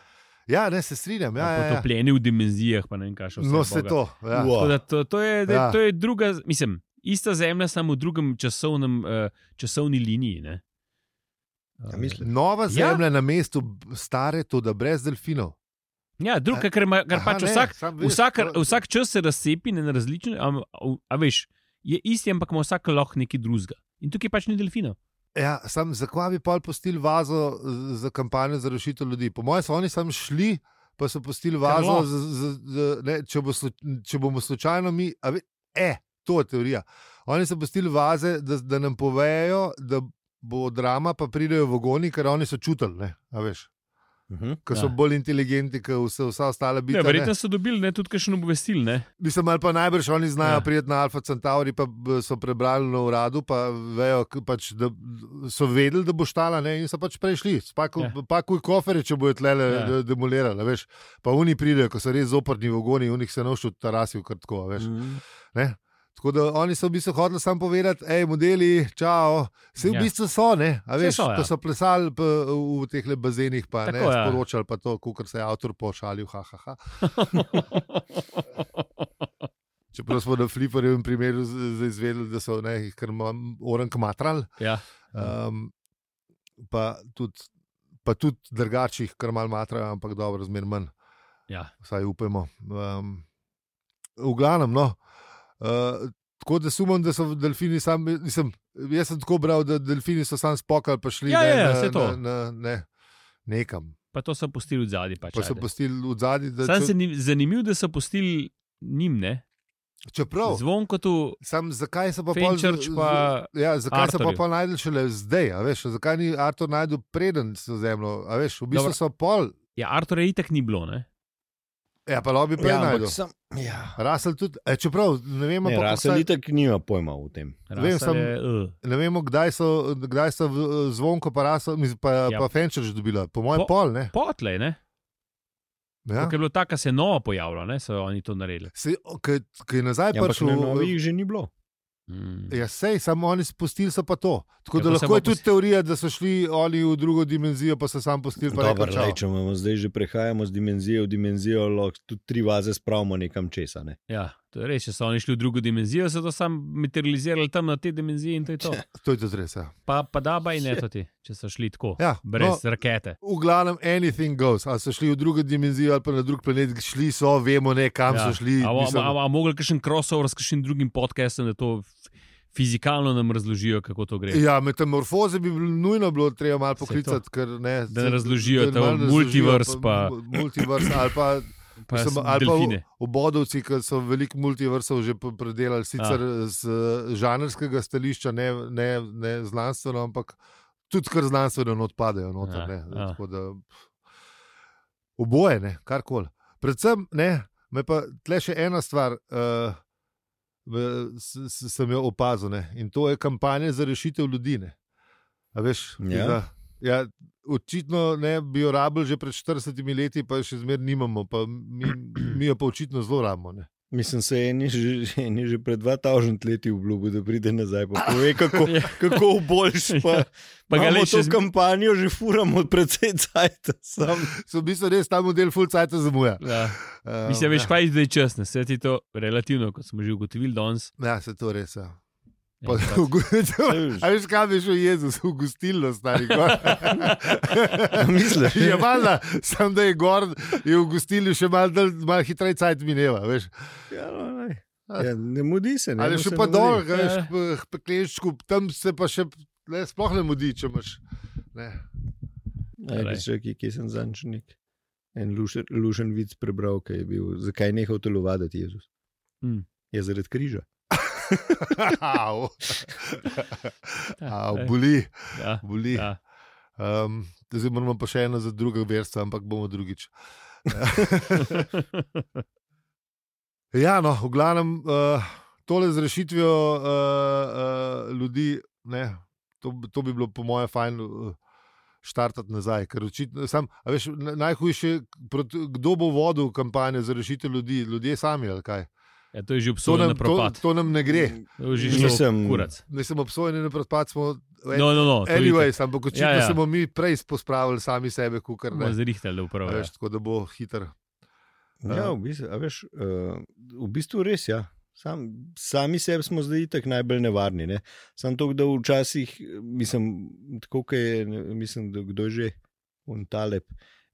S3: Ja, ne se strinjam. Ja, ja, ja.
S1: potopljeni v dimenzijah, pa ne vem, kaj še vse.
S3: No, se
S1: boga.
S3: to. Ja.
S2: Wow.
S1: Tako da To, to, je,
S3: Ja.
S1: da, to je druga, mislim, ista zemlja, samo v drugem časovnem, uh, časovni liniji. Ne?
S2: Ja, mislim.
S3: Nova
S1: Ja.
S3: zemlja ja. na mestu b- stare, to da brez delfinov.
S1: Ja, drug, kar, ima- kar
S3: Aha,
S1: pač
S3: ne,
S1: vsak,
S3: sam veš,
S1: vsak,
S3: to-
S1: vsak čas se razcepi na različne, a, a, a veš, je isti, ampak ima vsak lahko nekaj drugega. In tukaj pač ni delfinov.
S3: Ja, sam zakaj bi pol postili vazo z- za kampanjo za rešitev ljudi? Po mojem, so oni sam šli, pa so postili vazo,
S1: lahko.
S3: z, z, z, ne, če, bo, slu- če bomo slučajno mi. a Ve, e, to je teorija. Oni so postili vaze, da, da nam povejo, da bo drama, pa pridejo vagoni, ker oni so čutili, ne, a veš.
S2: Mhm.
S3: Ker so
S1: Ja.
S3: bolj inteligentni, kot vse, vsa ostala bitja.
S1: Ja,
S3: ne.
S1: verjetno so dobili ne, tudi kakšen obvestil. Ne?
S3: Mislim, ali pa najbrž oni znajo ja.
S1: Ja.
S3: priti na Alfa Centauri, pa b- so prebrali na uradu, pa vejo, k- pač, da so vedeli, da bo štala ne, in so pač prešli. Spakuj
S1: Ja.
S3: ja. kofere, če bojo tlele
S1: Ja.
S3: ja. demolirali. veš. Pa oni pridejo, ko so res zoprni vogoni, unih se nošil tarasijo krtko. Veš.
S2: Mhm.
S3: Ne? Tako da oni so v bistvu hodili samo povedati, hej, modeli, čau. Se v
S1: Ja.
S3: bistvu so, ne, a
S1: Saj
S3: veš,
S1: so, ja.
S3: ko so plesali p, v teh bazenih, pa ne,
S1: Tako, ja.
S3: sporočali
S1: (laughs)
S3: pa to, kar se je avtor pošalil, ha, ha, ha. Čeprav smo na fliperjevem primeru z- zdaj izvedeli, da so ne, jih kar oren kmatral,
S1: Ja.
S3: um, pa tudi, pa tudi drugačnih kar mal matrajo, ampak dobro, zmer manj.
S1: Ja.
S3: Vsaj upajmo. Um, v glavnem, no. Uh, Tako da sumim, da so delfini sami. Mislim, jaz sem tako bral, da delfini so sami spokali, pa šli
S1: Ja,
S3: ne,
S1: ja, ja,
S3: na,
S1: saj to.
S3: na, na, ne, nekam.
S1: Pa to so pustili zadnji. Pač,
S3: Pa so
S1: ajde.
S3: postili v zadnji, da
S1: Sam
S3: če-
S1: zanim, zanimivo, da so pustili njim, ne?
S3: čeprav.
S1: Zvonko tu,
S3: Sam zakaj se pa pol
S1: Fenčerč pa.
S3: Ja, zakaj se pa
S1: Arturju.
S3: pol najdel šele zdaj, a veš, zakaj ni Artur najdel preden so zemljo, a veš, v bistvu
S1: Dobro.
S3: so pol,
S1: Ja, Artur je itak ni bilo, ne?
S3: ja, pa lobi prej
S2: Ja,
S3: ja, najdel.
S2: ampak sam, ja.
S3: Rasel tudi, e, čeprav ne vemo,
S2: Ne,
S3: pa,
S2: Rasel
S3: kdaj,
S2: itak nima pojma o tem.
S1: Rasel
S3: samo-
S1: je, eh.
S3: ne vemo kdaj so, kdaj so v- zvonko pa Rasel, mislim, pa,
S1: Ja.
S3: ja. pa Fenčerč dobila, po mojem
S1: Po-
S3: pol, ne.
S1: Potlej, ne? Ja.
S3: Ja.
S1: Ker je bilo tako, se je novo pojavilo, ne? so oni to naredili.
S3: Se, kaj, kaj je nazaj
S2: Ja,
S3: ja,
S2: ampak
S3: prišel,
S2: na novih že ni bilo.
S1: Mm.
S3: ja, sej, samo oni spustili so pa to. Tako
S1: Ja,
S3: da
S1: pa se
S3: lahko je
S1: pa
S3: tudi
S1: pos-
S3: teorija, da so šli oni v drugo dimenzijo, pa so sam pustili pa
S2: Dobar,
S3: rekli, "Čao."
S2: lej, če imamo zdaj že prehajamo z dimenzije v dimenzijo, lahko tudi tri vaze spravimo nekam česa. Ne?
S1: Ja, to je res, če so oni šli v drugo dimenzijo, so to sam materializirali tam na te dimenzije in to je to.
S3: To je tudi res, (laughs) ja.
S1: Pa, pa da, baj ne to ti, če so šli tako,
S3: Ja, no.
S1: brez no. rakete.
S3: V glavnem, anything goes. Ali so šli v drugo dimenzijo ali pa na drug planet, šli so, vemo, ne, kam
S1: Ja.
S3: ja. so šli.
S1: A bo-
S3: mislim,
S1: a- a- a mogli kakšen crossover s kakšnim drugim podcastom, da to f- fizikalno nam razložijo, kako to gre.
S3: Ja, metamorfoze bi bilo nujno bilo treba malo
S1: Saj to.
S3: poklicati, ker ne.
S1: Da ne razložijo
S3: da
S1: ta
S3: malo razložijo,
S1: multiverse pa-
S3: Multiverse ali pa.
S1: Pa
S3: Mislim,
S1: sem
S3: ali pa v,
S1: delfine.
S3: (laughs)
S1: (laughs)
S3: v Bodovci, ki so veliko multiversov že p- predelali, sicer z eh, žanrskega stališča, ne, ne, ne znanstveno, ampak tudi kar znanstveno odpadajo. Noter,
S1: Ja,
S3: ne,
S1: ja.
S3: Tako da, pf, oboje, ne, karkoli. Predvsem ne, me pa tle še ena stvar. Uh, Sem jo opazil ne? in to je kampanja za rešitev ljudi. ne. A Veš, ki
S2: Ja.
S3: ga- ja, očitno ne, bi jo rabili že pred 40 leti, pa jo še zmeraj nimamo, pa mi, mi jo pa očitno zelo rabimo. Ne.
S2: Mislim, se je ni že, (laughs) ni že pred 2000 leti obljubil, da pride nazaj. Pa pove,
S3: (laughs)
S2: kako,
S1: Ja.
S2: kako
S1: (laughs)
S2: boljš. Pa,
S1: Pa ga le
S2: imamo
S1: še
S2: to
S1: zmeraj.
S2: kampanjo že furamo, predvsej cajt.
S3: (laughs) So v bistvu res ta model full cajt zamuja.
S1: Ja.
S3: Uh,
S1: Mislim, veš,
S3: ja.
S1: kaj je zdaj čas, ne se ti to relativno, kot smo že ugotovili danes.
S3: Ja, se to res. Ja.
S1: ne,
S3: (laughs) Pa,
S1: pač.
S3: a veš, kaj bi šel Jezus v gostilno, stari
S1: (laughs)
S3: gor.
S2: Misliš?
S3: Je malo, sam da je gor, je v gostilni še malo mal hitreje cajt mineva. Veš.
S2: Ja, no, lej. ja, ne mudi se. Ne,
S3: Ali
S2: mu
S3: še
S2: se
S3: pa
S2: ne mudi.
S3: dol, ga veš,
S1: Ja.
S3: k pekleščku, tam se pa še ne, sploh ne mudi, če imaš. Ne. (laughs)
S2: Aj,
S1: Glej.
S2: res je, ki- Kje sem zančnik? En lušen, lušen vic prebral, ki je bil, zakaj je nehal telovaditi Jezus.
S1: Mm.
S2: Je zaradi križa.
S3: Au. Au,
S2: Ja,
S1: ej.
S3: boli,
S1: Ja,
S3: boli.
S1: ja.
S3: Um, zdaj moramo pa še eno za drugo verstvo, ampak bomo drugič. Ja, no, v glavnem, uh, tole z rešitvijo uh, uh, ljudi, ne, to, b- to bi bilo, po mojem, fajn. Uh, Štartati nazaj, ker očitno, sam, a veš, na- najhujše je, proti- kdo bo vodil kampanjo za rešitev ljudi, ljudje sami ali kaj.
S1: ja, to je že
S3: To
S1: obsodno na
S3: nam, to,
S1: propad. To,
S3: to nam ne gre.
S1: je že šlo
S2: Mislim-
S1: kurac.
S3: Ne sem obsojen, ne propad smo.
S1: No, no, no, to je
S3: Anyways, ampak očitno
S1: Ja,
S3: ja,
S1: ja.
S3: ja. smo mi prej spospravili sami sebe, kot
S1: itak. Bomo
S3: ne.
S1: Zrihtali v
S3: A
S1: pravo.
S3: Veš, tako da bo hiter.
S2: Ja, v bistvu, a veš, uh, v bistvu res je. Ja. Sam, sami sebi smo zdaj tako najbolj nevarni. Ne? Sam to, da včasih, mislim, tako kot je, ne, mislim, da kdo je že on talep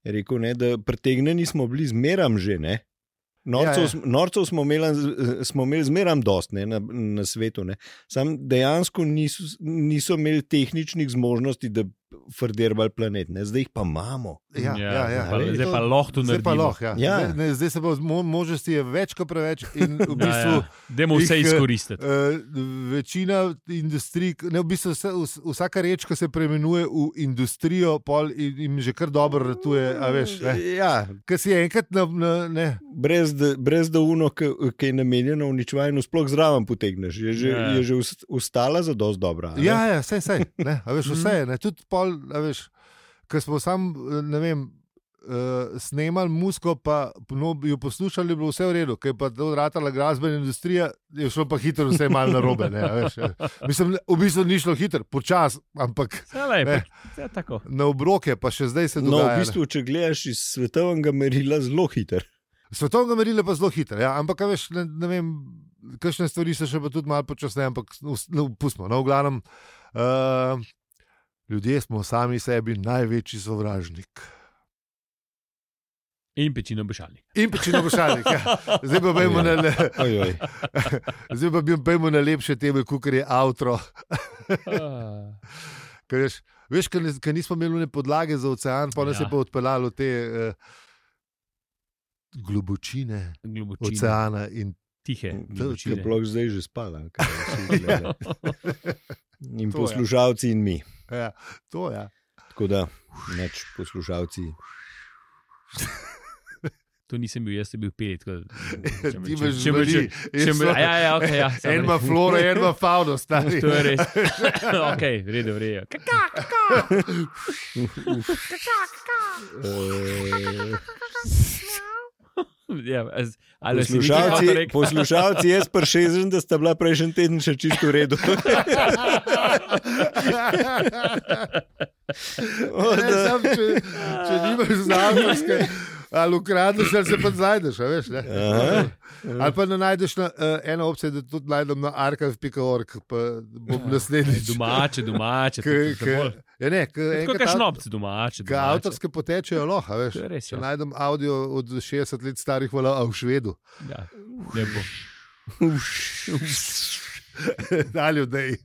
S2: je rekel, ne, da pretegneni smo bili zmeram že. Ne? Norcev,
S3: Ja, ja.
S2: ja, ja. norcev smo imeli, smo imeli zmeram dost ne, na, na svetu. Ne. Sam dejansko niso, niso imeli tehničnih zmožnosti, da frderbali planet, ne. zdaj jih pa imamo.
S3: Ja, ja, ja.
S1: pa-
S2: Veš,
S1: Zdaj pa lahko to
S3: Zdaj pa
S1: naredimo.
S3: lahko. Ja.
S2: Ja.
S3: Ja. Zdaj, ne, zdaj se pa mo- možnosti je več kot preveč. In v
S1: Ja,
S3: bistvu ja,
S1: ja. Dajmo vse
S3: jih, eh,
S1: izkoristiti.
S3: ja. večina industrij, ne, v bistvu vse, vs- vsaka reč, ki se preimenuje v industrijo, pol in- jim že kar dobro ratuje. a Veš, ne.
S2: ja,
S3: Ker si enkrat na. na ne,
S2: brez, da- brez da uno, ki- ki je namenjeno uničevanju, sploh zraven potegneš. Je že,
S1: Ja.
S2: ja. je že ust- ustala za dosto dobra. a ne? Mm.
S3: Ja, ja, sej, sej, ne, a veš, vse je, ne, tudi pol, a veš, ker smo sam, ne vem, uh, snemali musko, pa no, jo poslušali, je bilo vse v redu, ker je pa to vratala glasbena industrija, je šlo pa hitro vse malo narobe, ne, a veš. Mislim, v bistvu ni šlo hitro, počas, ampak
S1: Vse je
S3: Ne.
S1: vse ja, tako.
S3: na obroke, pa še zdaj se
S2: No,
S3: dogaja.
S2: v bistvu, če gledaš iz
S3: (laughs)
S2: svetovnega merila, zelo hiter.
S3: Svetovno merilo je pa zelo hitro, ja, ampak a veš, ne, ne vem. kakšne stvari so še pa tudi malo počasneje, ampak us- no, pustimo. No, v glavnem, uh, ljudje smo sami sebi največji sovražnik.
S1: In pečino bošalnik.
S3: In pečino bošalnik. Ja. Zdaj pa pojmo
S1: Ja.
S3: na, le,
S2: Ojoj.
S3: zdaj pa pojmo na lepše teme, kot je avtro.
S1: Ah,
S3: Ker Veš, veš ker, ne, ker nismo imeli neke podlage za ocean, pa nas
S1: Ja.
S3: ja. je pa odpeljalo v te eh, globočine
S1: (laughs) Globočine.
S3: oceana. In,
S1: Tihe.
S2: To-
S1: globočine.
S2: Ker blok zdaj že spala. kaj
S3: (laughs)
S2: vsi gledali. In
S3: Ja. To je.
S2: poslušalci in mi.
S3: ja, to je. Ja.
S2: Tako da, neč poslušalci.
S1: (laughs) To nisem bil, jaz sem bil pet. Tako, da-
S3: (laughs) Ti imaš
S1: če me
S3: živali.
S1: že. Če me, ja, ja, okay, ja, samo
S3: En ima
S1: ne.
S3: floro, en ima fauno, stari.
S1: (laughs) To je
S3: (laughs)
S1: res. ok, v redu, v redu. Kaka,
S2: Eh,
S1: ja, a z- ali si nikoli
S2: Poslušalci,
S1: avto rekel?
S2: poslušalci, jaz prešezen, da sta bila prejšnji teden še čisto v
S3: (laughs)
S2: redu. (laughs) O,
S3: Ne,
S2: da.
S3: sam, če, če nimaš znamke, ali ukradeš, ali se pa znajdeš. a Veš, ne?
S2: Aha.
S3: ali pa ne najdeš na, uh, eno opcijo, da tudi najdem na arkav.org, pa
S1: Ja.
S3: bom naslednjič.
S1: Domače, domače. to-
S3: K-
S1: to- to
S3: k-
S1: bolj.
S3: Ja, ne, k-
S1: Tako
S3: enkrat
S1: kot
S3: av-
S1: šnopc, domače.
S3: Ga
S1: domače.
S3: avtorske potečejo, loha, veš.
S1: ja. To je res,
S3: Če
S1: ja.
S3: najdem avdio od 60 let starih, vala, a v Švedu, (laughs)
S1: Ja, ne bo.
S3: ali odej,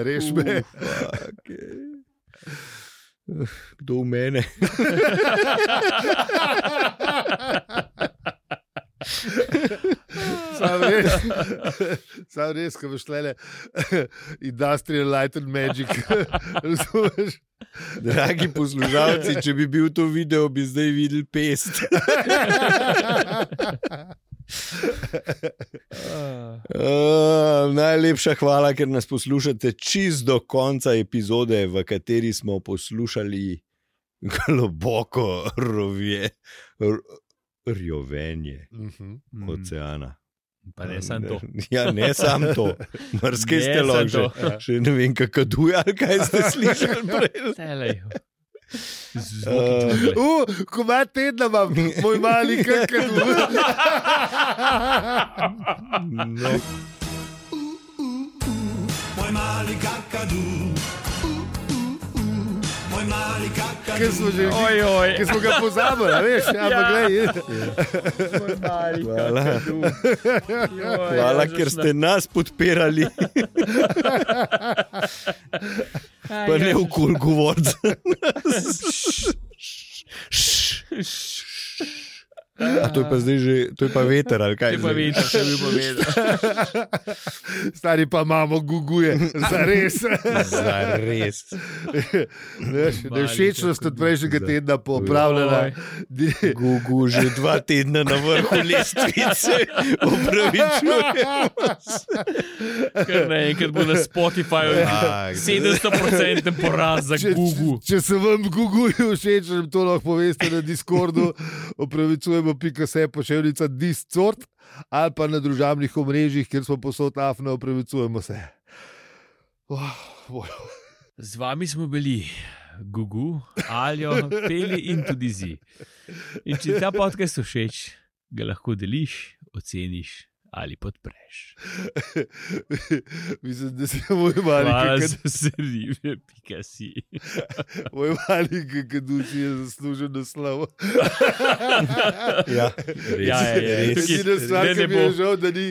S3: reš me.
S2: Fuck, eh. Kdo v mene?
S3: Sam res, (laughs) sam res, ko boš tlele (laughs) Industrial Light and Magic, (laughs) razumeš?
S2: Dragi poslušalci, če bi bil to video, bi zdaj videl pest. Uh, najlepša hvala, ker nas poslušate čist do konca epizode, v kateri smo poslušali globoko rovje, r- rjovenje
S3: Mhm.
S1: Mm,
S2: oceana.
S1: Pa ne samo to.
S2: (laughs) Ja, ne samo to. Mrzke
S1: Ne
S2: ste
S1: samo
S2: lahko že.
S1: to. Ja.
S2: Še ne vem, kako duje, ali kaj
S1: (laughs)
S2: ste slišali prej.
S1: Telej.
S2: (laughs)
S1: Z-
S2: Eh,
S1: Zvoki džungle.
S3: U, ko ima tedna, imam moj mali
S1: (laughs)
S3: krkar.
S2: No.
S4: Moj mali kakadu. Moj mali kakadu.
S3: Ker smo že,
S1: Oj, oj.
S3: ker smo ga pozabili, a veš, ampak
S1: Ja.
S3: gledaj.
S2: Hvala. Hvala, ker ste nas podpirali, pa ne v kul govorc. A to je pa zdaj že, to je pa veter ali kaj?
S1: Če pa
S2: zdaj?
S1: vidiš, če bi povedal.
S3: Stari pa imamo guguje, za
S1: (laughs)
S3: res.
S2: (laughs) Zares.
S3: Nevšečnost od prejšnjega tedna popravljena.
S1: Oj.
S3: Di-
S2: Gugu že dva tedna na vrhu
S1: (laughs)
S2: lestvice, upravičujem.
S1: Ker naenkrat bo na Spotifyju
S2: Ja,
S1: 700% poraz za
S3: Če,
S1: Google.
S3: če, če se vam Google všeč, nam to lahko poveste na Discordu, opravičujemo, pika se pošiljka Discord ali pa na družabnih omrežjih, kjer smo posod afna, opravičujemo se. Oh, boj.
S1: Z vami smo bili Gugu, Aljo, Peli in tudi Zi. In če ti ta podcast všeč, ga lahko deliš, oceniš ali podpreš.
S3: (laughs) Mislim, da se moj mali,
S1: Hvala
S3: kak-
S1: za srdive, pika si.
S3: moj mali kakaduči je zaslužen naslov.
S1: (laughs)
S2: Ja, res,
S1: Ja, ja, ja.
S2: res.
S1: Tukaj-
S3: Edina stvar,
S1: ne, ne
S3: ki mi je
S1: bo.
S3: žal, da ni,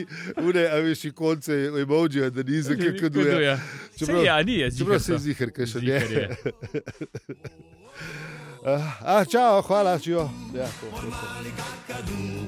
S3: une, a veš, konce emojija, da ni za kakaduje. Čeprav-
S1: Čeprav, ja, ni, jaz
S3: Čeprav se
S1: zdi.
S3: zihar, kaj še ne.
S1: Zihar je.
S3: Ah, ah, čau, hvala, živo. Ja, to, to, to.
S4: Moj mali kakadu.